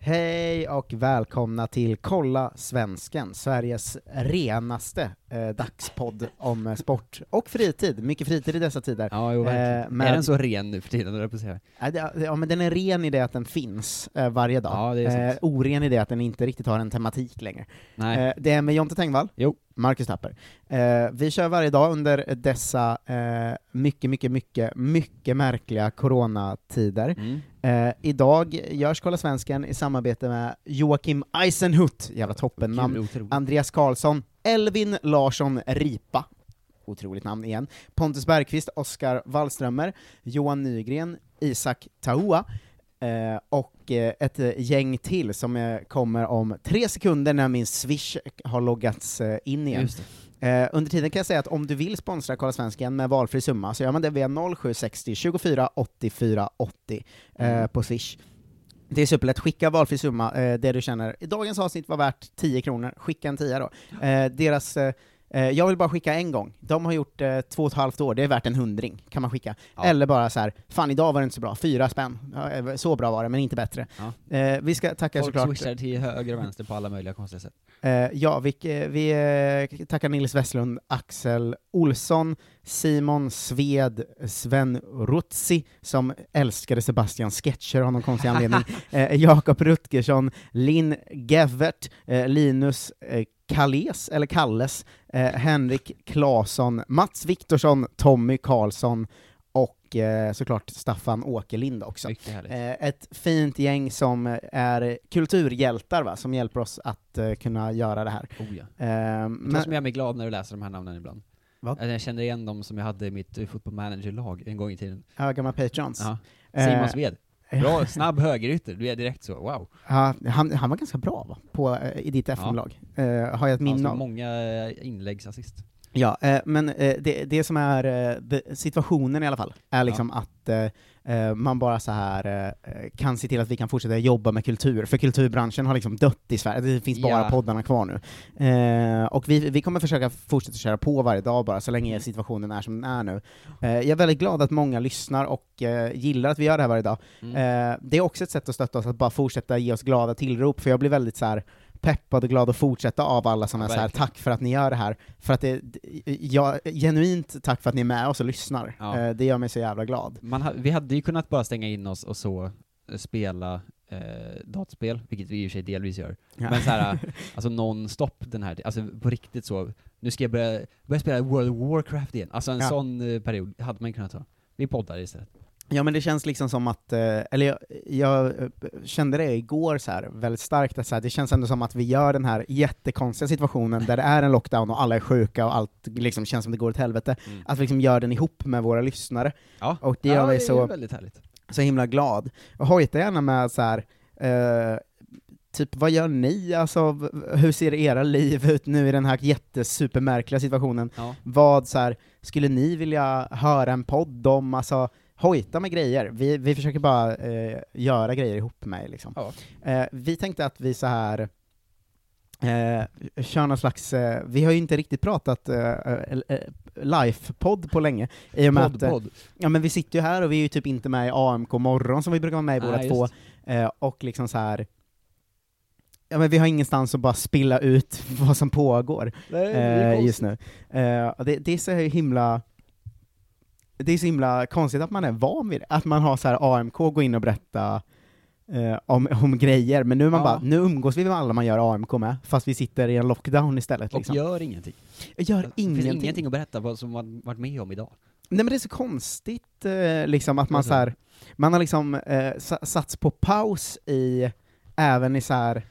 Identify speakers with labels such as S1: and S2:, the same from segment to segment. S1: Hej och välkomna till Kolla Svensken, Sveriges renaste eh, dagspodd om eh, sport och fritid. Mycket fritid i dessa tider.
S2: Ja, jo, verkligen.
S1: Eh, men-
S2: Är den så ren nu för tiden, höll jag på att säga.
S1: Ja, det, ja, men den är ren i det att den finns eh, varje dag.
S2: Ja, det är sant.
S1: Eh, oren i det att den inte riktigt har en tematik längre.
S2: Nej.
S1: Eh, det är med Jonte Tengvall,
S2: Jo.
S1: Marcus Tapper. Eh, vi kör varje dag under dessa eh, mycket, mycket, mycket, mycket märkliga coronatider.
S2: Mm.
S1: Eh, idag görs Kolla Svensken i samarbete med Joakim Eisenhut, jävla toppennamn,
S2: Kul, otroligt.
S1: Andreas Karlsson, Elvin Larsson Ripa, otroligt namn igen, Pontus Bergqvist, Oskar Wallströmer, Johan Nygren, Isak Taua, eh, och eh, ett eh, gäng till som eh, kommer om tre sekunder när min Swish har loggats eh, in igen.
S2: Just det.
S1: Eh, under tiden kan jag säga att om du vill sponsra Kolla Svensken med valfri summa så gör man det via 0760 24 84 80 eh,
S2: Mm.
S1: på Swish. Det är superlätt, skicka valfri summa, eh, det du känner. Dagens avsnitt var värt 10 kronor, skicka en 10 då. Eh, deras, eh, eh, jag vill bara skicka en gång, de har gjort eh, två och ett halvt år, det är värt en hundring, kan man skicka.
S2: Ja.
S1: Eller bara så här, fan idag var det inte så bra, fyra spänn. Ja, eh, så bra var det, men inte bättre.
S2: Ja.
S1: Eh, vi ska tacka
S2: Folk
S1: såklart...
S2: swishar till höger och vänster på alla möjliga konstiga sätt.
S1: Eh, ja, vi, eh, vi eh, tackar Nils Westlund, Axel Olsson, Simon Sved, Sven Rutzi, som älskade Sebastians sketcher av någon konstig anledning, eh, Jakob Rutgersson, Linn Gevert, eh, Linus eh, Kalles, eller Kalles, eh, Henrik Claesson, Mats Viktorsson, Tommy Karlsson och eh, såklart Staffan Åkerlind också.
S2: Mycket härligt.
S1: Eh, Ett fint gäng som är kulturhjältar va, som hjälper oss att eh, kunna göra det här.
S2: Oh, ja.
S1: Eh,
S2: Vet du vad
S1: men,
S2: som gör mig glad när du läser de här namnen ibland?
S1: Vad?
S2: Att Jag känner igen dem som jag hade i mitt eh, football manager-lag en gång i tiden.
S1: ja, gamla Patreons.
S2: Ja.
S1: Eh,
S2: Simon Sved. Bra, snabb högerytter. Du är direkt så, wow.
S1: ja, han, han var ganska bra va, på, eh, i ditt FM-lag, eh, har jag ett minne
S2: Alltså,
S1: av.
S2: många eh, inläggsassist.
S1: Ja, eh, men eh, det, det som är eh, det, situationen i alla fall, är liksom att eh, eh, man bara så här eh, kan se till att vi kan fortsätta jobba med kultur, för kulturbranschen har liksom dött i Sverige, det finns bara
S2: Ja.
S1: poddarna kvar nu. Eh, och vi, vi kommer försöka fortsätta köra på varje dag bara, så länge situationen är som den är nu. Eh, jag är väldigt glad att många lyssnar och eh, gillar att vi gör det här varje dag.
S2: Mm.
S1: Eh, det är också ett sätt att stötta oss, att bara fortsätta ge oss glada tillrop, för jag blir väldigt så här peppad och glad att fortsätta av alla som
S2: Ja,
S1: är så här,
S2: verkligen.
S1: tack för att ni gör det här, för att det, d- ja, genuint tack för att ni är med oss och lyssnar.
S2: Ja.
S1: Eh, det gör mig så jävla glad.
S2: Man ha, vi hade ju kunnat bara stänga in oss och så eh, spela eh, dataspel, vilket vi i och för sig delvis gör.
S1: Ja.
S2: Men så här, alltså non-stop den här, alltså på riktigt så, nu ska jag börja, börja spela World of Warcraft igen. Alltså en
S1: Ja.
S2: sån eh, period hade man ju kunnat ta. Vi poddar istället.
S1: Ja men det känns liksom som att, eh, eller jag, jag eh, kände det igår så här, väldigt starkt, att så här, det känns ändå som att vi gör den här jättekonstiga situationen där det är en lockdown och alla är sjuka och allt liksom känns som det går åt helvete,
S2: Mm.
S1: att vi liksom gör den ihop med våra lyssnare.
S2: Ja,
S1: Och det gör
S2: ja,
S1: mig så
S2: är väldigt härligt.
S1: så himla glad. Och hojta gärna med så här. eh, typ vad gör ni? Alltså, v- v- hur ser era liv ut nu i den här jättesupermärkliga situationen?
S2: Ja.
S1: Vad så här, skulle ni vilja höra en podd om? Alltså, hojta med grejer. Vi, vi försöker bara eh, göra grejer ihop med liksom.
S2: Ja.
S1: Eh, vi tänkte att vi så här eh, kör någon slags, eh, vi har ju inte riktigt pratat eh, eh, eh, live-podd på länge, i och med att,
S2: Podd,
S1: eh,
S2: podd.
S1: Ja men vi sitter ju här och vi är ju typ inte med i AMK morgon som vi brukar vara med i båda
S2: Nej,
S1: två,
S2: just.
S1: eh, och liksom så här. Ja men vi har ingenstans att bara spilla ut vad som pågår
S2: Nej, det är
S1: eh,
S2: konstigt.
S1: just nu. Eh, och det, det är så himla det är så himla konstigt att man är van vid det, att man har så här AMK gå in och berätta eh, om, om grejer, men nu, är man
S2: Ja.
S1: bara, nu umgås vi med alla man gör AMK med, fast vi sitter i en lockdown istället.
S2: Och
S1: Liksom.
S2: gör ingenting.
S1: Jag gör
S2: Det
S1: ingenting.
S2: finns ingenting att berätta vad som man varit med om idag.
S1: Nej men det är så konstigt eh, liksom att man
S2: Alltså.
S1: så här, man har liksom eh, sa- satts på paus i, även i så här.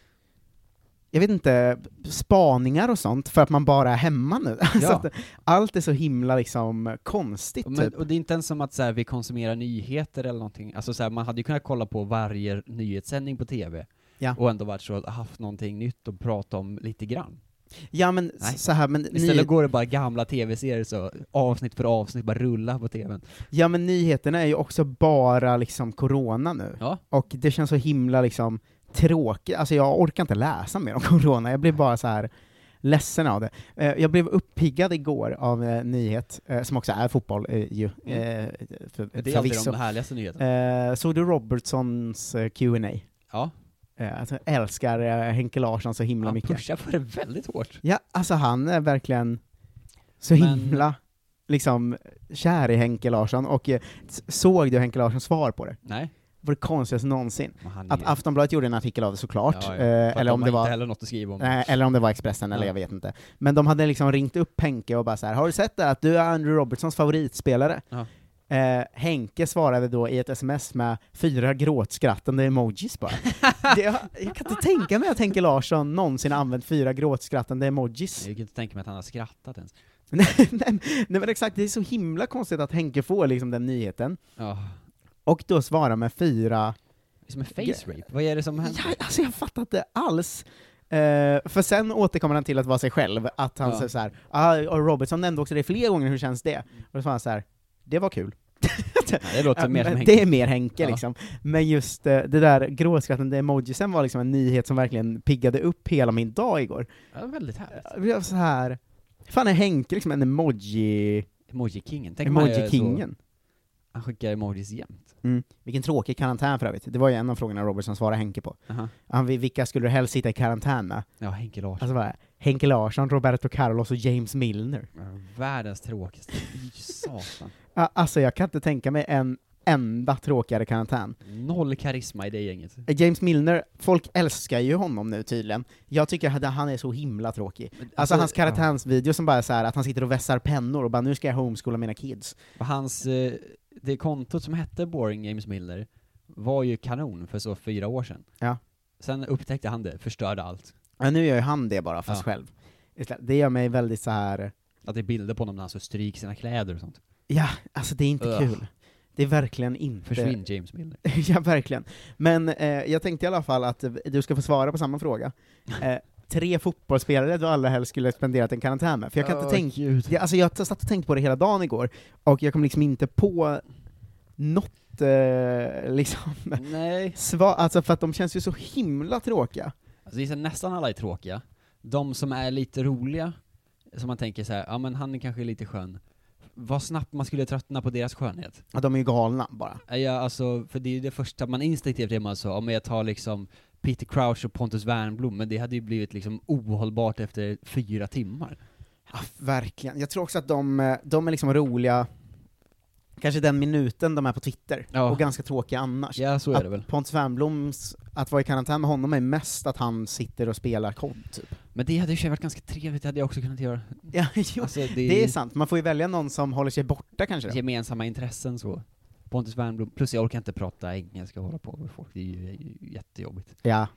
S1: jag vet inte, spaningar och sånt, för att man bara är hemma nu. så
S2: Ja.
S1: att, allt är så himla liksom konstigt
S2: Men,
S1: typ.
S2: och det är inte ens som att så här, vi konsumerar nyheter eller någonting, alltså så här, man hade ju kunnat kolla på varje nyhetssändning på TV,
S1: Ja.
S2: och ändå varit så, haft någonting nytt att prata om lite grann.
S1: Ja men s-
S2: Nej.
S1: så här, men,
S2: Istället
S1: ny,
S2: går det bara gamla TV-serier så, avsnitt för avsnitt, bara rulla på TVn.
S1: ja men nyheterna är ju också bara liksom corona nu,
S2: Ja.
S1: och det känns så himla liksom tråkigt, alltså jag orkar inte läsa mer om corona, jag blir bara så här ledsen av det. Eh, jag blev uppiggad igår av eh, nyhet, eh, som också är fotboll eh, ju,
S2: Mm.
S1: eh, för,
S2: Det är alltid
S1: förvisso.
S2: de härligaste nyheterna.
S1: Eh, såg du Robertsons eh, Q&A?
S2: Ja.
S1: Eh, alltså, jag älskar eh, Henke Larsson så himla
S2: Han
S1: mycket.
S2: pushar för det väldigt hårt.
S1: Ja, alltså han är verkligen så
S2: Men-
S1: himla liksom kär i Henke Larsson, och eh, s- såg du Henke Larssons svar på det?
S2: Nej.
S1: Det var det konstigaste någonsin.
S2: men Han
S1: Att Aftonbladet gjorde en artikel av det såklart,
S2: Mm. Ja, ja.
S1: eh,
S2: För att
S1: eller om
S2: de
S1: det
S2: har
S1: var
S2: inte heller något att skriva om.
S1: Nej, eller om det var Expressen, eller
S2: Ja.
S1: jag vet inte. Men de hade liksom ringt upp Henke och bara så här, har du sett det? Att du är Andrew Robertsons favoritspelare?
S2: Ja.
S1: Eh, Henke svarade då i ett sms med fyra gråtskrattande emojis bara. det, jag, jag kan inte tänka mig att Henke Larsson någonsin har använt fyra gråtskrattande
S2: Jag
S1: emojis.
S2: kan inte tänka mig att han har skrattat ens.
S1: nej, nej, nej men exakt, det är så himla konstigt att Henke får liksom den nyheten,
S2: Ja.
S1: och då svarar med fyra
S2: Det är Som en face rape. Vad är det som händer?
S1: Ja, alltså jag fattar inte alls. Eh, för sen återkommer han till att vara sig själv, att han
S2: Ja.
S1: säger såhär ah, och Robertson nämnde också det flera gånger, hur känns det?
S2: Mm.
S1: Och då sa han såhär, det var kul.
S2: Nej, det låter
S1: Ja,
S2: mer som
S1: men
S2: Henke.
S1: det är mer Henke
S2: Ja.
S1: liksom. Men just eh, det där gråskrattande emojisen var liksom en nyhet som verkligen piggade upp hela min dag igår.
S2: Ja, det var väldigt härligt.
S1: Jag blev så här fan är Henke liksom en emoji...
S2: Emoji-kingen. Tänk om han gör så-
S1: emoji-kingen?
S2: Han skickar emojis jämt.
S1: Mm. Vilken tråkig karantän för övrigt. Det var ju en av frågorna Robertson svarade Henke på.
S2: Aha.
S1: Han, vilka skulle du helst sitta i karantän med?
S2: Ja, Henke Larsson.
S1: Alltså bara, Henke Larsson, Roberto Carlos och James Milner.
S2: Ja, Världens tråkigaste. Fy satan.
S1: Ja, Alltså jag kan inte tänka mig en enda tråkigare karantän.
S2: Noll karisma i det gänget.
S1: Eh, James Milner, folk älskar ju honom nu tydligen. Jag tycker att han är så himla tråkig.
S2: Men
S1: Alltså hans
S2: ja,
S1: karantänsvideo som bara är så här att han sitter och vässar pennor och bara nu ska jag homeschoola mina kids.
S2: Hans, eh, det kontot som hette Boring James Miller var ju kanon för så fyra år sedan.
S1: Ja.
S2: Sen upptäckte han det, förstörde allt.
S1: Ja, nu gör ju han det bara, fast
S2: Ja.
S1: själv. Istället- Det gör mig väldigt så här.
S2: Att det är bilder på honom när han så stryker sina kläder och sånt.
S1: ja, alltså det är inte
S2: Ugh.
S1: kul. Det är verkligen inte...
S2: Försvinn James Miller.
S1: ja, verkligen. Men eh, jag tänkte i alla fall att eh, du ska få svara på samma fråga. Eh, tre fotbollsspelare du allra helst skulle spenderat en karantän med, för jag kan inte tänka...
S2: ut.
S1: Jag, alltså jag satt och tänkte på det hela dagen igår, och jag kom liksom inte på något, eh, liksom,
S2: Nej.
S1: svar, alltså för att de känns ju så himla tråkiga.
S2: Alltså, det är så nästan alla är tråkiga. De som är lite roliga, som man tänker så här, ja men han är kanske lite skön. Vad snabbt man skulle tröttna på deras skönhet.
S1: Ja, de är ju galna bara.
S2: Nej, Ja, alltså, för det är ju det första man instinktivt är man så, om jag tar liksom Peter Crouch och Pontus Wernbloom, men det hade ju blivit liksom ohållbart efter fyra timmar.
S1: Ja, verkligen. Jag tror också att de, eh, de är liksom roliga, kanske den minuten de är på Twitter,
S2: Ja.
S1: och ganska tråkiga annars.
S2: Ja, så är det väl.
S1: Alltså, Att Pontus Wernbloms, att vara i karantän med honom är mest att han sitter och spelar kod, typ.
S2: Men det hade ju i och för sig varit ganska trevligt, det hade jag också kunnat göra.
S1: Ja, jo,
S2: Alltså, det,
S1: det är sant. Man får ju välja någon som håller sig borta kanske. Då.
S2: gemensamma intressen så. Pontus Wernbloom, plus jag orkar inte prata engelska och hålla på med folk, det är ju, ju jättejobbigt.
S1: Ja.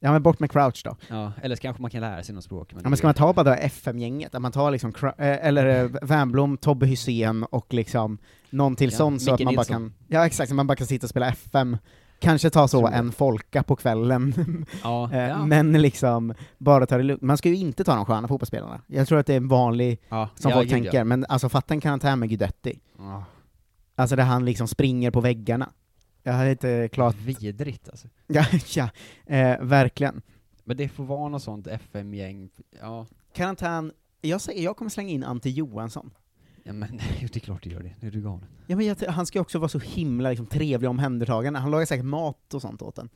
S1: Ja men bort med Crouch då.
S2: Ja, eller så kanske man kan lära sig något språk. Men
S1: Ja, men ska
S2: det-
S1: man ta bara det här FM-gänget, att man tar liksom, Crouch- eh, eller eh, Wernbloom, Tobbe Hysén och liksom någon till
S2: Ja,
S1: sån så att
S2: Micke
S1: man bara
S2: Nilsson.
S1: kan, ja exakt, så man bara kan sitta och spela FM. Kanske ta så
S2: Tror jag.
S1: en folka på kvällen,
S2: ja,
S1: Eh,
S2: ja.
S1: men liksom bara ta det lugnt. Man ska ju inte ta de sköna fotbollsspelarna. Jag tror att det är en vanlig,
S2: ja,
S1: som
S2: ja,
S1: folk
S2: gud, ja.
S1: tänker, men alltså fatta en karantän med Guidetti.
S2: Ja.
S1: Alltså där han liksom springer på väggarna. Jag har inte klart...
S2: Vidrigt alltså.
S1: Ja, ja eh, verkligen.
S2: Men det får vara något sånt FM-gäng, ja.
S1: Karantän, jag säger, jag kommer slänga in Ante Johansson.
S2: Ja men det är klart du gör det, nu är du galen.
S1: Ja, men jag, t- han ska ju också vara så himla liksom, trevlig och omhändertagande, han lagar säkert mat och sånt åt en.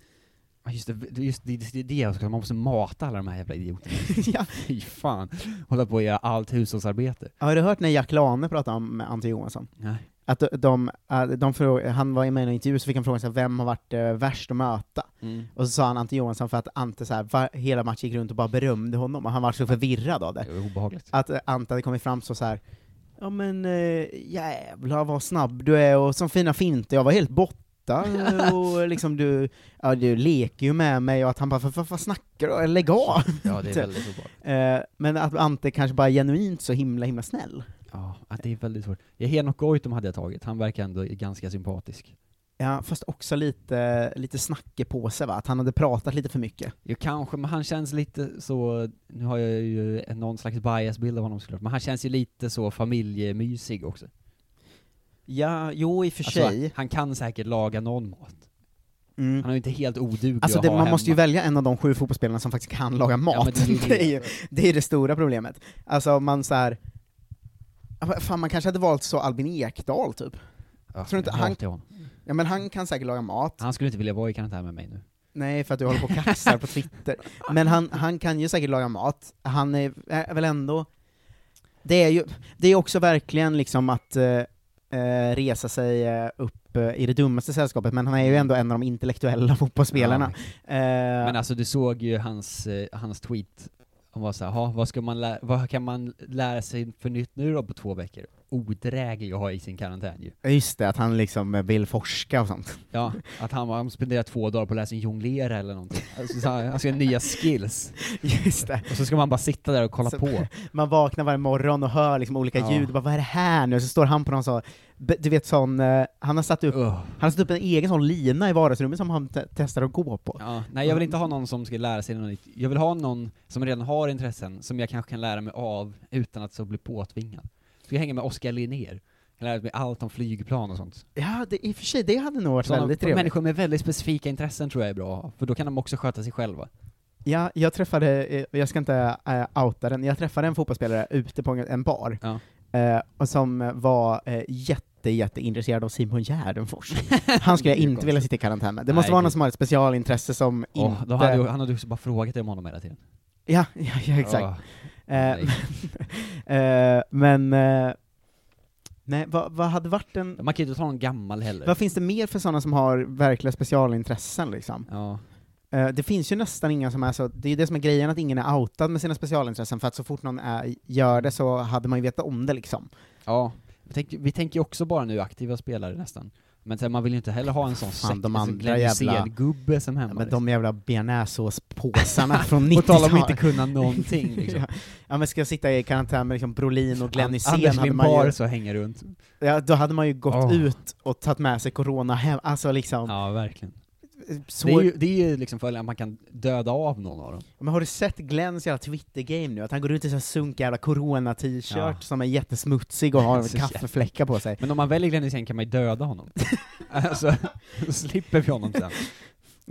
S2: Ja, Just det, det- just det, det, är det jag ska, man måste mata alla de här jävla idioterna.
S1: ja.
S2: Fy fan. Hålla på och göra allt hushållsarbete.
S1: Har du hört när Jack Lane pratade om Ante Johansson?
S2: Nej.
S1: Att de, de, eh, de frå- han var med i en intervju, så fick han frågan så här, vem har varit eh, värst att möta?
S2: Mm.
S1: Och så sa han Ante Johansson för att Ante så här, va- hela matchen gick runt och bara berömde honom, och han var så förvirrad av det.
S2: Det är obehagligt.
S1: att eh, Ante hade kommit fram så så här. Ja men eh, jävlar vad snabb du är och som fina finter, jag var helt borta eh, och liksom du, ja du leker ju med mig och att han bara "Vad- vad vad snackar du om? Lägg av!
S2: Ja, det är
S1: Typ.
S2: väldigt obehagligt.
S1: Eh, men att Ante kanske bara är genuint så himla himla snäll.
S2: Ja, ja, det är väldigt svårt. Ja, Henok Goitom hade jag tagit, han verkar ändå ganska sympatisk.
S1: Ja, fast också lite, lite snacke på sig va, att han hade pratat lite för mycket.
S2: Jo, kanske, men han känns lite så, nu har jag ju någon slags biasbild av honom såklart, men han känns ju lite så familjemysig också.
S1: Ja, jo i och för
S2: Alltså, han kan säkert laga någon mat.
S1: Mm.
S2: Han är ju inte helt oduglig
S1: Alltså
S2: att
S1: det,
S2: ha
S1: man måste ju
S2: hemma.
S1: välja en av de sju fotbollsspelarna som faktiskt kan laga mat.
S2: Ja, men det
S1: det,
S2: är ju det.
S1: är ju, det är det stora problemet. Alltså man så här. Ja, men Fan, man kanske hade valt så Albin Ekdal typ.
S2: Ja,
S1: Tror du inte
S2: jag
S1: han-
S2: hatar honom.
S1: Ja men han kan säkert laga mat.
S2: Han skulle inte vilja vara i karantän med mig nu.
S1: Nej, för att du håller på och kaxar på Twitter. Men han, han kan ju säkert laga mat. Han är, är väl ändå... Det är ju det är också verkligen liksom att eh, eh, resa sig eh, upp eh, i det dummaste sällskapet, men han är ju ändå en av de intellektuella fotbollsspelarna. Eh,
S2: Men alltså du såg ju hans, eh, hans tweet, han var såhär, "Ha, vad, ska man lä- vad kan man lära sig för nytt nu då på två veckor? Odräglig att ha i sin karantän ju.
S1: just det, att han liksom eh, vill forska och sånt.
S2: Ja, att han, han spenderar två dagar på att lära sig jonglera eller någonting. Alltså, så han han ska ha nya skills.
S1: Just det.
S2: Och så ska man bara sitta där och kolla
S1: Så-
S2: på.
S1: Man vaknar varje morgon och hör liksom olika
S2: Ja.
S1: ljud, bara, vad är det här nu? Så står han på någon sån, b- du vet sån, eh, han har satt upp
S2: Ugh.
S1: Han har satt upp en egen sån lina i vardagsrummet som han te- testar att gå på.
S2: Ja, nej jag vill inte ha någon som ska lära sig något nytt. Jag vill ha någon som redan har intressen, som jag kanske kan lära mig av utan att så bli påtvingad. Ska jag hänga med Oskar Linnér? Jag lära mig allt om flygplan och sånt.
S1: Ja, det, i och för sig, det hade nog varit
S2: Sådana
S1: väldigt trevligt.
S2: människor med väldigt specifika intressen tror jag är bra att ha, för då kan de också sköta sig själva.
S1: Ja, jag träffade, eh, jag ska inte eh, outa den, jag träffade en fotbollsspelare ute på en- en bar,
S2: Ja.
S1: eh, och som eh, var eh, jätte, jätteintresserad av Simon Gärdenfors. Han skulle jag
S2: Det är
S1: inte vilja
S2: konstigt.
S1: sitta i karantän med. Det
S2: Nej,
S1: måste vara
S2: det-
S1: någon som har ett specialintresse som
S2: Åh,
S1: inte...
S2: de hade, ju- han hade också bara frågat dig om honom hela tiden.
S1: Ja, ja, ja exakt.
S2: Åh,
S1: Eh,
S2: nej.
S1: eh, men... Eh, nej, vad, vad hade varit en...
S2: Man kan ju inte ta någon gammal heller.
S1: Vad finns det mer för sådana som har verkliga specialintressen liksom?
S2: Ja.
S1: Eh, det finns ju nästan inga som är så, det är ju det som är grejen att ingen är outad med sina specialintressen, för att så fort någon är, gör det så hade man ju vetat om det liksom.
S2: ja. Vi, tänker, vi tänker ju också bara nu aktiva spelare nästan. Men så här, man vill ju inte heller ha en sån
S1: Fan,
S2: sekt,
S1: de
S2: en sån
S1: andra
S2: Glenn
S1: jävla-
S2: Hysén-gubbe som
S1: Ja,
S2: hemma.
S1: men
S2: liksom.
S1: de jävla bearnaisesåspåsarna från
S2: Och tala om att inte
S1: 90-talet.
S2: kunna någonting liksom.
S1: ja. ja men ska jag sitta i karantän med liksom Brolin och Glenn
S2: An-
S1: Hysén
S2: Anders
S1: hade man
S2: Lindbar
S1: ju,
S2: så hänger runt.
S1: ja, då hade man ju gått
S2: Åh.
S1: ut och tagit med sig corona hem, alltså liksom. eh,
S2: Ja, verkligen.
S1: Så,
S2: Det är, ju, det är ju liksom följden att man kan döda av någon av dem.
S1: Men har du sett Glenns jävla Twitter-game nu? Att han går ut i sån här sunkig jävla corona-t-shirt
S2: Ja.
S1: som är jättesmutsig och har
S2: Så
S1: kaffefläckar på sig.
S2: Men om man väljer Glenn Hysén kan man ju döda honom. alltså, då slipper vi honom sen.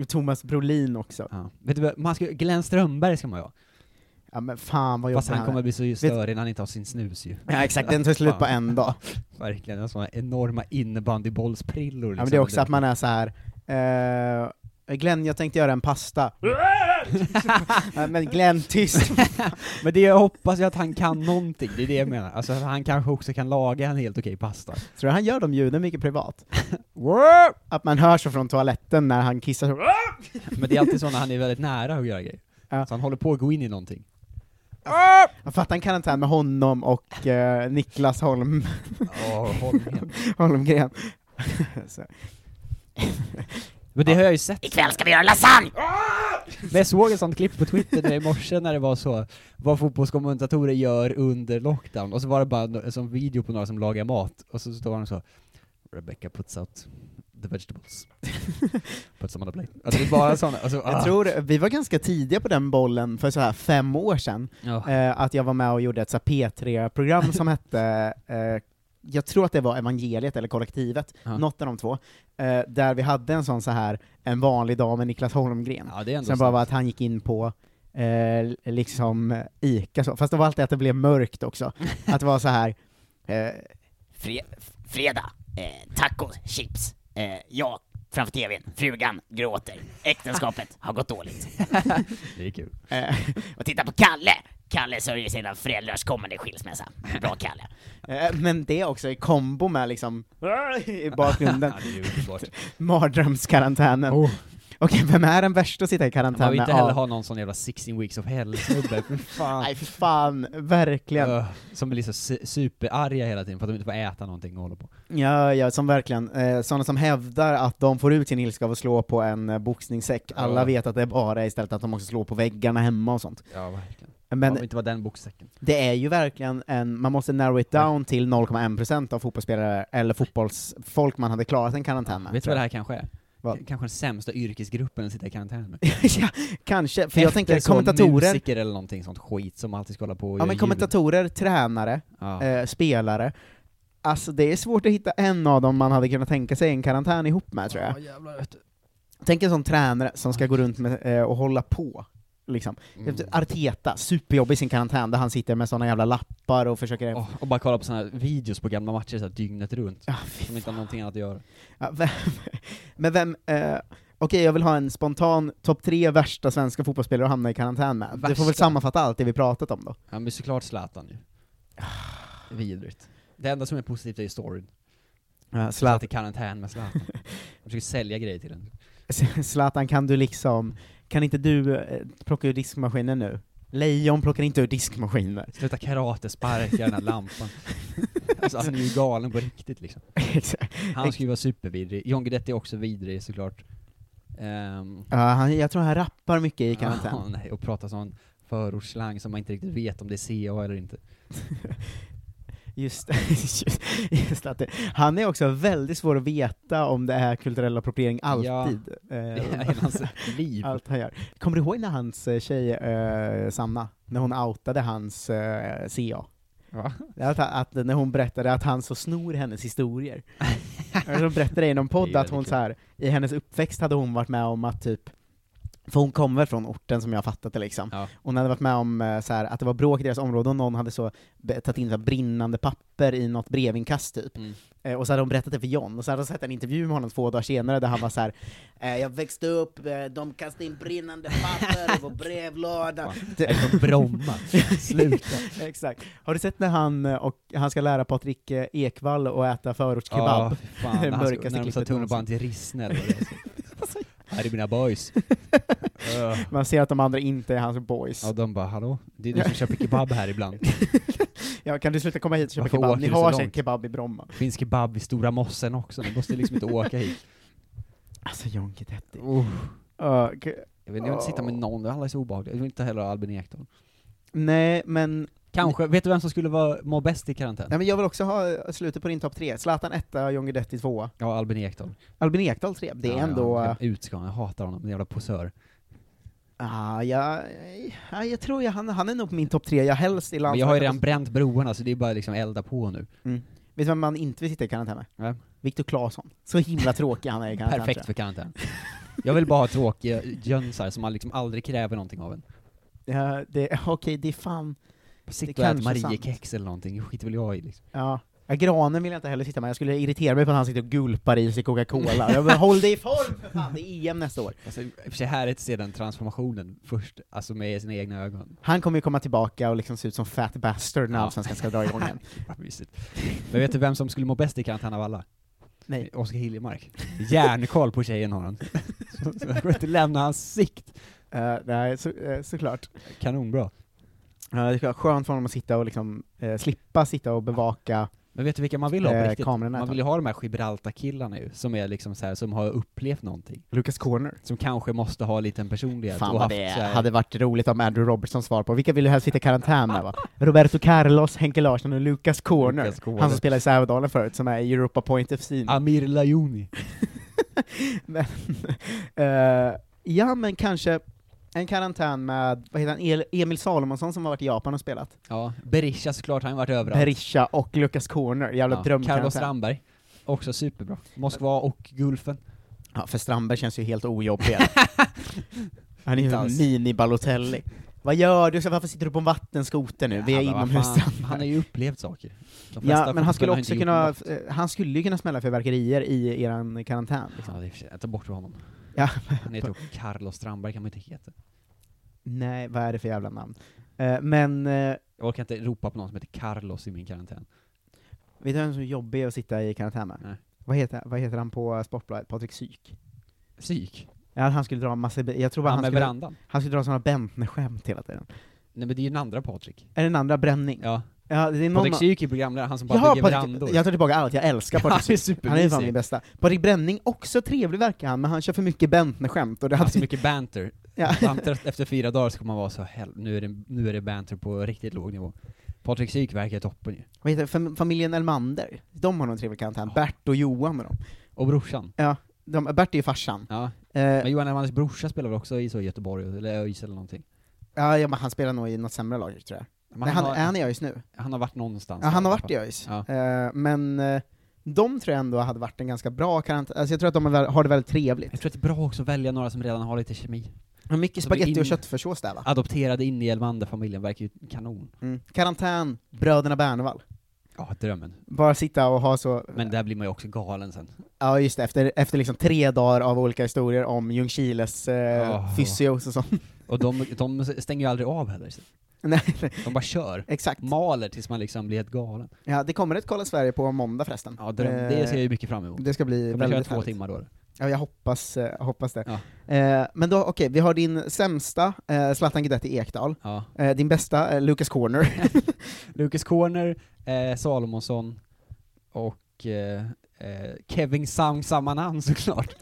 S1: Thomas Brolin också.
S2: Ja. Vet du vad, man ska, Glenn Strömberg ska man ju ha.
S1: Ja men fan vad jobbig
S2: Fast han
S1: han
S2: kommer
S1: är.
S2: bli så störig när han inte har sin snus ju.
S1: Ja exakt, den tar slut på en dag.
S2: Verkligen, en sån här enorma innebandybollsprillor liksom.
S1: Ja, men det är också att man är så här. Eh, Glenn, jag tänkte göra en pasta. Ja, men Glenn, tyst!
S2: Men det jag hoppas ju att han kan någonting, det är det jag menar. Alltså han kanske också kan laga en helt okej pasta.
S1: Tror du han gör de ljuden mycket privat? Att man hör så från toaletten när han kissar så.
S2: Men det är alltid så när han är väldigt nära att göra grejer.
S1: Ja.
S2: Så han håller på att gå in i någonting.
S1: Jag fattar en karantän med honom och eh, Niklas Holm,
S2: Åh, håll med.
S1: Holmgren. så.
S2: Men det har jag ju sett
S3: Ikväll ska vi göra lasagne!
S2: Men jag såg ett sånt klipp på Twitter där i morse när det var så, vad fotbollskommentatorer gör under lockdown, och så var det bara en sån video på några som lagar mat, och så står han så Rebecca puts out the vegetables. puts them on the plate. Alltså det är bara såna, alltså,
S1: Jag
S2: ah.
S1: tror, vi var ganska tidiga på den bollen för så här fem år sedan,
S2: ja.
S1: eh, att jag var med och gjorde ett så här P3-program som hette, eh, jag tror att det var Evangeliet eller Kollektivet,
S2: Ja.
S1: något av de två, eh, där vi hade en sån så här en vanlig dag med Niklas Holmgren.
S2: ja, det är ändå
S1: Sen bara
S2: sant.
S1: var att han gick in på eh, liksom eh, Ica, så. fast det var alltid att det blev mörkt också. Att det var så här eh,
S3: Fre- fredag, eh, tacos, chips. Eh, jag framför tvn, frugan gråter. Äktenskapet har gått dåligt.
S2: Det är kul.
S1: eh,
S3: Och titta på Kalle! Kalle sörjer sina föräldrars kommande skilsmässa. Bra Kalle.
S1: eh, men det också i kombo med liksom i bakgrunden,
S2: Ja, det är ju underbart.
S1: mardrömskarantänen.
S2: Oh.
S1: Okej, vem är den värsta att sitta i
S2: Man
S1: karantän
S2: vill
S1: med?
S2: inte heller
S1: Ja.
S2: ha någon sån jävla 16 weeks of hell-snubbe, för fan.
S1: Nej, för fan, verkligen.
S2: Öh, som blir så su- superarga hela tiden för att de inte får äta någonting och håller på.
S1: Ja, ja, som verkligen. Eh, sådana som hävdar att de får ut sin ilska av att slå på en eh, boxningssäck. Alla
S2: Ja.
S1: vet att det är bara istället att de måste slå på väggarna hemma och sånt.
S2: Ja, verkligen.
S1: Men
S2: Om det inte var den boksäcken.
S1: det är ju verkligen en, man måste narrow it down till 0,1% av fotbollsspelare eller fotbollsfolk man hade klarat en karantän med.
S2: Vet du
S1: tror
S2: vad det
S1: jag.
S2: här kanske är?
S1: Vad?
S2: K- Kanske den sämsta yrkesgruppen att sitta i karantän med.
S1: ja, kanske, för jag
S2: Efter
S1: tänker
S2: så
S1: kommentatorer,
S2: musiker eller någonting sånt skit som alltid ska hålla på och
S1: ja,
S2: göra
S1: men
S2: ljud.
S1: kommentatorer, tränare,
S2: ja.
S1: eh, spelare, alltså det är svårt att hitta en av dem man hade kunnat tänka sig en karantän ihop med tror jag.
S2: Ja, jävlar, vet du.
S1: Tänk en sån tränare som ska gå runt med, eh, och hålla på. Liksom.
S2: Mm.
S1: Arteta, superjobbig i sin karantän där han sitter med såna jävla lappar och försöker...
S2: Åh, och bara kolla på såna här videos på gamla matcher så här, dygnet runt.
S1: Ah, fy
S2: Som inte har någonting annat att göra.
S1: Ja, vem, men vem, eh, okej jag vill ha en spontan topp tre värsta svenska fotbollsspelare att hamna i karantän med. Du får väl
S2: Värsta?
S1: sammanfatta allt det vi pratat om då.
S2: Ja men såklart Zlatan ju.
S1: Ah.
S2: Vidrigt. Det enda som är positivt är ju storyn. Zlatan i karantän med Zlatan. De försöker sälja grejer till den.
S1: Zlatan, kan du liksom, kan inte du eh, plocka ur diskmaskinen nu? Lejon plockar inte ur diskmaskiner.
S2: Sluta karate, sparka den här lampan. Alltså han är ju galen på riktigt liksom.
S1: Exakt.
S2: Han skulle ju vara supervidrig. John Guidetti är också vidrig såklart. Ehm,
S1: Ja, han, jag tror han rappar mycket i karantän.
S2: ja, nej, och prata sån förortsslang som man inte riktigt vet om det är CA eller inte.
S1: Just, just, just att det, han är också väldigt svår att veta om det är kulturell appropriering alltid.
S2: Det
S1: Eh,
S2: är hans liv.
S1: Allt han gör. Kommer du ihåg när hans eh, tjej eh, Sanna, när hon outade hans eh, CA?
S2: Va?
S1: Det är Att, att, när hon berättade att han så snor hennes historier. så berättade jag i någon
S2: Det är
S1: podd att
S2: väldigt
S1: hon
S2: kul.
S1: så här, i hennes uppväxt hade hon varit med om att typ, för hon kommer från orten som jag har fattat det liksom,
S2: Ja.
S1: hon hade varit med om eh, så här, att det var bråk i deras område och någon hade så be- tagit in så här, brinnande papper i något brevinkast typ.
S2: Mm.
S1: Eh, och så hade hon berättat det för John, och så hade hon sett en intervju med honom två dagar senare där han var så här. Eh, jag växte upp, eh, de kastade in brinnande papper i vår brevlåda.
S2: Är från Bromma. Sluta.
S1: Exakt. Har du sett när han, eh, och, han ska lära Patrik eh, Ekwall att äta förortskebab?
S2: Ja, fy fan,
S1: Det
S2: när han
S1: mörkaste
S2: skulle- när de sa
S1: klippet
S2: tunnelbanan till Rissne eller vad det är. Här är mina boys. Öh.
S1: Man ser att de andra inte är hans boys.
S2: Ja, de bara hallå? Det är du som köper kebab här ibland.
S1: Ja, kan du sluta komma hit och köpa
S2: Varför
S1: kebab?
S2: åker
S1: Ni
S2: du så
S1: har sig
S2: långt?
S1: kebab i Bromma.
S2: Finns kebab i Stora Mossen också, ni måste liksom inte åka hit.
S1: Alltså John Guidetti.
S2: Uh.
S1: Ja, g-
S2: Jag vill, jag vill inte sitta med någon, alla är så obehagliga. Jag vill inte heller ha Albin Ekdal.
S1: nej, men,
S2: Kanske, vet du vem som skulle vara, må bäst i karantän?
S1: nej, men jag vill också ha eh, slutet på din topp tre. Zlatan etta, John Guidetti tvåa.
S2: Ja, Albin Ekdal.
S1: Albin Ekdal tre. Det är
S2: ja,
S1: ändå...
S2: Ja,
S1: eh,
S2: han ska ut ska han. jag hatar honom, den jävla posör.
S1: Ah, jag, ja, jag tror jag, han, han är nog på min topp tre, jag helst i
S2: Men jag har ju redan
S1: landslaget.
S2: bränt broarna, så det är bara liksom elda på nu.
S1: Vet du vem man inte vill sitta i karantän med?
S2: Vem?
S1: Viktor Claesson. Så himla tråkig han är i karantän.
S2: Perfekt för karantän. Jag vill bara ha tråkiga jönsar som man liksom aldrig kräver någonting av en.
S1: tror jag. Ja, det, okej, det är fan...
S2: Sitt
S1: Det
S2: och
S1: kanske
S2: ät
S1: är
S2: Mariekex eller någonting, det skiter väl jag i liksom.
S1: Ja. Ja, granen vill jag inte heller sitta med, jag skulle irritera mig på att han sitter och gulpar i sig Coca-Cola. Jag bara, håll dig i form för fan, det är EM nästa år.
S2: Alltså, i och för sig härligt att se den transformationen först, alltså med sina egna ögon.
S1: Han kommer ju komma tillbaka och liksom se ut som fat bastard när
S2: Ja.
S1: allsvenskan ska dra igång igen.
S2: Vad mysigt. Men vet du vem som skulle må bäst i karantän av alla?
S1: Nej.
S2: Oskar Hiljemark. Järnkoll på tjejen har han. Så- så Jag går inte lämna hans sikt.
S1: Eh, nej, så, eh, såklart.
S2: Kanonbra.
S1: Eh, det skulle vara skönt för honom att sitta och liksom, eh, slippa sitta och bevaka
S2: Men vet du vilka man vill ha på
S1: Eh,
S2: riktigt?
S1: kamerorna
S2: Man
S1: tar-
S2: vill ju ha de här Gibraltar-killarna ju, som är liksom så här, som har upplevt någonting.
S1: Lucas Corner.
S2: Som kanske måste ha en liten personlighet
S1: Fan
S2: och
S1: vad
S2: haft
S1: det
S2: så här,
S1: hade varit roligt om Andrew Robertson svar på. Vilka vill du helst sitta i karantän med va? Roberto Carlos, Henke Larsson och Lucas Corner.
S2: Lucas Corner.
S1: Han som spelade i Sävedalen förut, som är i Europa Point FC nu.
S2: Amir Lajoni.
S1: Men, eh, ja men kanske en karantän med, vad heter han, El- Emil Salomonsson som har varit i Japan och spelat.
S2: Ja, Berisha såklart, han har ju varit överallt.
S1: Berisha och Lucas Corner, jävla
S2: Ja, Carlos
S1: drömkarantän.
S2: Strandberg, också superbra. Moskva och Gulfen.
S1: Ja, för Strandberg känns ju helt ojobbig. han är ju
S2: Inte alls.
S1: mini-Balotelli. Vad gör du? Så Varför sitter du på en vattenskoter nu? Vi är
S2: Jävlar, vad
S1: inomhus
S2: fan.
S1: Strandberg.
S2: Han har ju upplevt saker. De flesta
S1: Ja, men han skulle
S2: fotbollsspelare har
S1: också
S2: inte
S1: kunna,
S2: gjort något.
S1: eh, han skulle ju kunna smälla fyrverkerier i eran karantän.
S2: Ja, det är för sig- jag tar bort honom.
S1: Liksom. Ja.
S2: Han heter också Carlos Strandberg, kan man inte heta.
S1: Nej, vad är det för jävla namn? Eh, men, eh,
S2: Jag orkar inte ropa på någon som heter Carlos i min karantän.
S1: vet du vem som är jobbig att sitta i karantän med?
S2: Nej.
S1: Vad heter, vad heter han på Sportbladet? Patrik Syk?
S2: Psyk.
S1: Ja, han skulle dra en massa, jag tror bara
S2: Han,
S1: han,
S2: med
S1: skulle,
S2: verandan.
S1: han skulle dra sådana Bentner-skämt hela tiden.
S2: Nej men det är ju den andra Patrik.
S1: Är det den andra Bränning?
S2: Ja.
S1: Ja, det är någon
S2: Patrik Syk är programledare, han som bara
S1: Jaha,
S2: bygger verandor.
S1: Patrik, jag tar tillbaka allt, jag älskar Patrik
S2: han är
S1: Syk. Han är ju fan min
S2: supermysig.
S1: bästa. Patrik Bränning, också trevlig verkar han, men han kör för mycket Bentner-skämt och det
S2: Han har
S1: hade
S2: så mycket banter.
S1: Ja.
S2: Han trött- Efter fyra dagar så kommer man vara så hell, nu är, det, nu är det banter på riktigt låg nivå. Patrik Syk verkar toppen ju.
S1: Vad heter det? Fam- Familjen Elmander, de har nog en trevlig karantän.
S2: Ja.
S1: Bert och Johan med dem.
S2: Och brorsan.
S1: De, Bert är ju farsan.
S2: Ja.
S1: Eh,
S2: Men Johan Elmanders brorsa spelar väl också i så Göteborg, eller ÖIS eller någonting?
S1: ja, ja, men han spelar nog i något sämre lag, tror jag.
S2: Men
S1: Nej, han,
S2: har,
S1: är han i ÖIS nu?
S2: han har varit någonstans.
S1: Ja, han har
S2: där,
S1: varit i ÖIS.
S2: Ja.
S1: Eh, men eh, de tror jag ändå hade varit en ganska bra karantän. Alltså jag tror att de är väl- har det väldigt
S2: Jag
S1: trevligt.
S2: tror att det är bra också att välja några som redan har lite kemi.
S1: Men Mycket
S2: Så Alltså, det är
S1: spaghetti och
S2: in-
S1: köttfärssås där va?
S2: Adopterade in i Elmander-familjen verkar ju kanon.
S1: Mm. Karantän, bröderna Bernvall.
S2: Ja, drömmen.
S1: Bara sitta och ha så,
S2: Men där blir man ju också galen sen.
S1: ja just det, efter, efter liksom tre dagar av olika historier om Ljungskiles eh,
S2: Ja.
S1: fysios och sånt.
S2: Och de, de stänger ju aldrig av heller. så
S1: Nej,
S2: De bara kör.
S1: exakt.
S2: Maler tills man liksom blir helt galen.
S1: Ja, det kommer ett Kolla Sverige på måndag förresten.
S2: Ja, dröm,
S1: Eh,
S2: det ser jag ju mycket fram emot.
S1: det ska bli
S2: Kan man köra
S1: väldigt
S2: två
S1: härligt.
S2: timmar då?
S1: Ja, jag hoppas, eh, hoppas det.
S2: Ja.
S1: Eh, men då, okej, vi har din sämsta, eh, Zlatan Guidetti Ekdal.
S2: Ja.
S1: Eh, din bästa, eh, Lucas Corner.
S2: Lucas Corner, eh, Salomonsson och eh, eh, Kevin Sang Samanan såklart.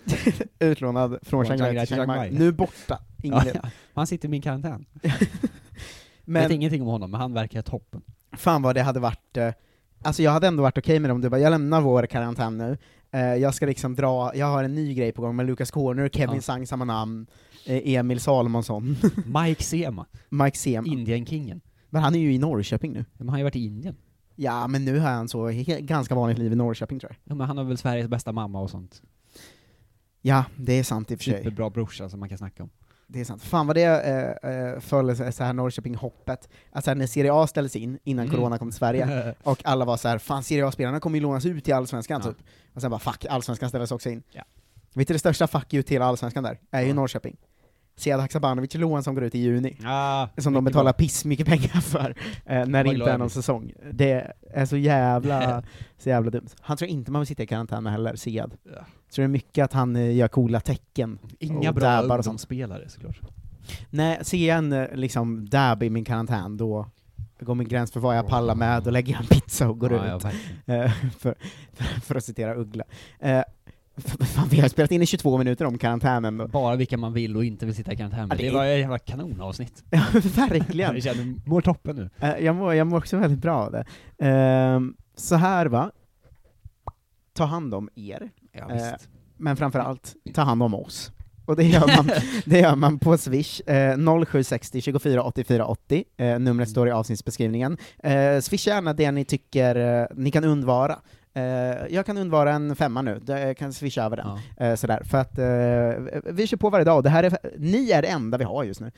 S1: Utlånad från Chiang Rai till Chiang Mai. Nu borta. Ingen
S2: Ja,
S1: del.
S2: ja. Han sitter i min karantän. Jag vet
S1: Men
S2: ingenting om honom, men han verkar toppen.
S1: fan vad det hade varit, eh, alltså jag hade ändå varit okej med dem, du bara jag lämnar vår karantän nu, eh, jag ska liksom dra, jag har en ny grej på gång med Lucas Corner, Kevin
S2: Ja.
S1: Sang samma namn, eh, Emil Salomonsson,
S2: Mike Sema,
S1: Mike Sema.
S2: Indienkingen.
S1: Men han är ju i Norrköping nu.
S2: Men han har ju varit i Indien.
S1: Ja, men nu har han så he- ganska vanligt liv i Norrköping tror jag.
S2: Ja, men han har väl Sveriges bästa mamma och sånt.
S1: Ja, det är sant i och för sig.
S2: Superbra brorsa som man kan snacka om.
S1: Det är sant. Fan vad det eh, eh, föll så så här Norrköping-hoppet, att så här, när Serie A ställdes in, innan
S2: Mm.
S1: corona kom till Sverige, och alla var så här, fan Serie A-spelarna kommer ju lånas ut till Allsvenskan
S2: Ja.
S1: typ. Och sen bara fuck, Allsvenskan ställdes också in.
S2: Ja.
S1: Vet du det största fuck you till Allsvenskan där? Är ju
S2: Ja.
S1: Norrköping. Sead Haksabanovic lån som går ut i juni.
S2: ah,
S1: Som de
S2: mycket
S1: betalar
S2: bra.
S1: piss mycket pengar för, eh, när
S2: Vad
S1: det inte
S2: glad
S1: är
S2: jag
S1: någon
S2: blir.
S1: säsong. Det är så jävla, så jävla dumt. Han tror inte man vill sitta i karantän heller, Sead.
S2: Ja.
S1: Tror det är mycket att han eh, gör coola tecken.
S2: Inga
S1: och
S2: bra
S1: dabbar och sånt.
S2: ungdomsspelare såklart.
S1: Nej, ser jag en eh, liksom dab i min karantän, då går min gräns för vad jag pallar med, då lägger jag en pizza och går
S2: ja,
S1: ut.
S2: ja, verkligen.
S1: Eh, för, för, för att citera Uggla. Eh, f- fan, vi har spelat in i 22 minuter om karantänen då.
S2: Bara vilka man vill och inte vill sitta i karantän med.
S1: Ja, det
S2: det,
S1: är-
S2: var ett jävla kanonavsnitt.
S1: Ja, verkligen.
S2: Jag känner, mår toppen nu.
S1: Eh, jag, mår, jag mår också väldigt bra av det. Ehm, så här va, ta hand om er,
S2: Ja,
S1: Eh,
S2: visst.
S1: men framför allt ta hand om oss. Och det gör man, det gör man på Swish, eh, 0760 24 84 80. Eh, numret står i avsnittsbeskrivningen. Eh, swish gärna det ni tycker eh, ni kan undvara. Eh, jag kan undvara en femma nu, jag kan swisha över den.
S2: Ja.
S1: Eh, sådär. För att eh, vi kör på varje dag, och det här är, ni är det enda vi har just nu.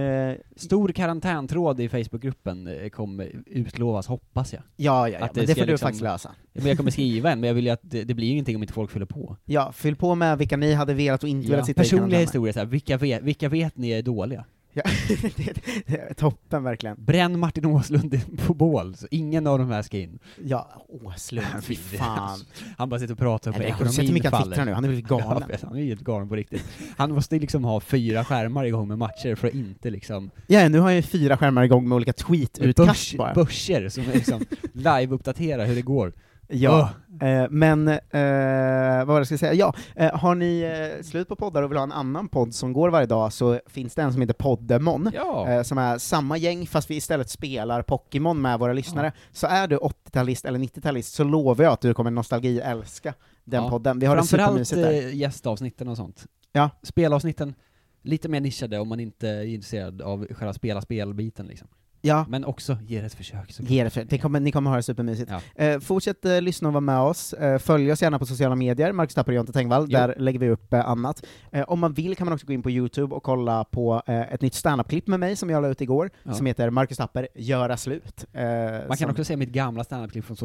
S1: Eh,
S2: Stor karäntantråd i Facebookgruppen eh, kommer utlovas, hoppas jag.
S1: ja, ja, ja
S2: Att det
S1: men det
S2: ska
S1: får du
S2: liksom-
S1: faktiskt lösa.
S2: Men jag kommer skriva en, men jag vill ju att det, det blir ju ingenting om inte folk fyller på.
S1: Ja, fyll på med vilka ni hade velat och inte velat sitta i
S2: Personliga
S1: karantän
S2: historier såhär, vilka vet, vilka vet ni är dåliga?
S1: med. Ja, det, det är toppen verkligen.
S2: Bränn Martin Åslund i- på bål, så ingen av de här ska in.
S1: Ja, Åslund, fy
S2: Fy
S1: fan.
S2: alltså. Han bara sitter och pratar om hur
S1: Eller, Har du sett hur
S2: ekonomin
S1: mycket han
S2: faller.
S1: twittrar nu? Han är blivit
S2: Ja,
S1: galen.
S2: vet, han är ju helt galen på riktigt. Han måste ju liksom ha fyra skärmar igång med matcher för att inte liksom...
S1: Ja, nu har jag ju fyra skärmar igång med olika tweet-utkast bara.
S2: börser som är liksom live-uppdatera hur det går.
S1: Ja, eh, men eh, vad var det jag skulle säga? Ja, eh, har ni eh, slut på poddar och vill ha en annan podd som går varje dag så finns det en som heter Poddemon.
S2: Ja!
S1: eh, som är samma gäng fast vi istället spelar Pokémon med våra lyssnare. Så är du 80-talist eller 90-talist så lovar jag att du kommer nostalgi-älska den
S2: Ja.
S1: podden. Vi har det
S2: Framförallt
S1: supermysigt där.
S2: eh, gästavsnitten och sånt.
S1: Ja.
S2: Spelavsnitten, lite mer nischade om man inte är intresserad av själva spela spelbiten liksom.
S1: eh, Ja.
S2: Men också ge det ett försök. Så.
S1: Ge det för, det kommer, ni kommer ha det supermysigt.
S2: Ja.
S1: Eh, fortsätt eh, lyssna och vara med oss. Eh, följ oss gärna på sociala medier, Marcus Tapper och Jonte Tengvall,
S2: Jo.
S1: där lägger vi upp eh, annat. Eh, om man vill kan man också gå in på Youtube och kolla på eh, ett nytt standup-klipp med mig som jag la ut igår,
S2: Ja.
S1: som heter Marcus Tapper, Göra slut. Eh,
S2: Man kan
S1: som,
S2: också se mitt gamla standup-klipp från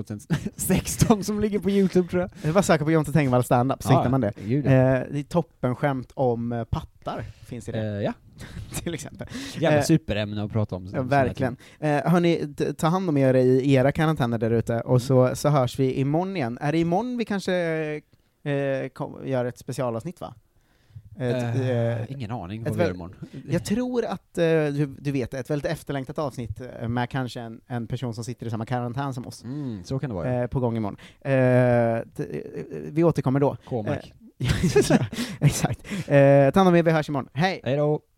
S2: 2016 som ligger på youtube tror jag.
S1: Var söka på Jonte Tengvall standup, så hittar man det.
S2: Gud, ja.
S1: Eh, det är toppenskämt om eh, pattar, finns i
S2: Eh,
S1: det
S2: ja,
S1: till exempel.
S2: jävla
S1: eh,
S2: superämne att prata om.
S1: Ja, verkligen. Eh, hörni, t- ta hand om er i era karantäner där ute,
S2: Mm.
S1: och så, så hörs vi imorgon igen. Är det imorgon vi kanske eh, kom, gör ett specialavsnitt, va? Ett,
S2: Eh,
S1: eh,
S2: ingen aning
S1: ett
S2: vad vi gör
S1: väl-
S2: imorgon.
S1: jag tror att, eh, du, du vet, ett väldigt efterlängtat avsnitt eh, med kanske en, en person som sitter i samma karantän som oss,
S2: Mm, så kan det vara. ja.
S1: eh, på gång imorgon. Eh, t- eh, vi återkommer då.
S2: K-mark.
S1: Exakt. Eh, ta hand om er, vi hörs imorgon. Hej!
S2: Hej då!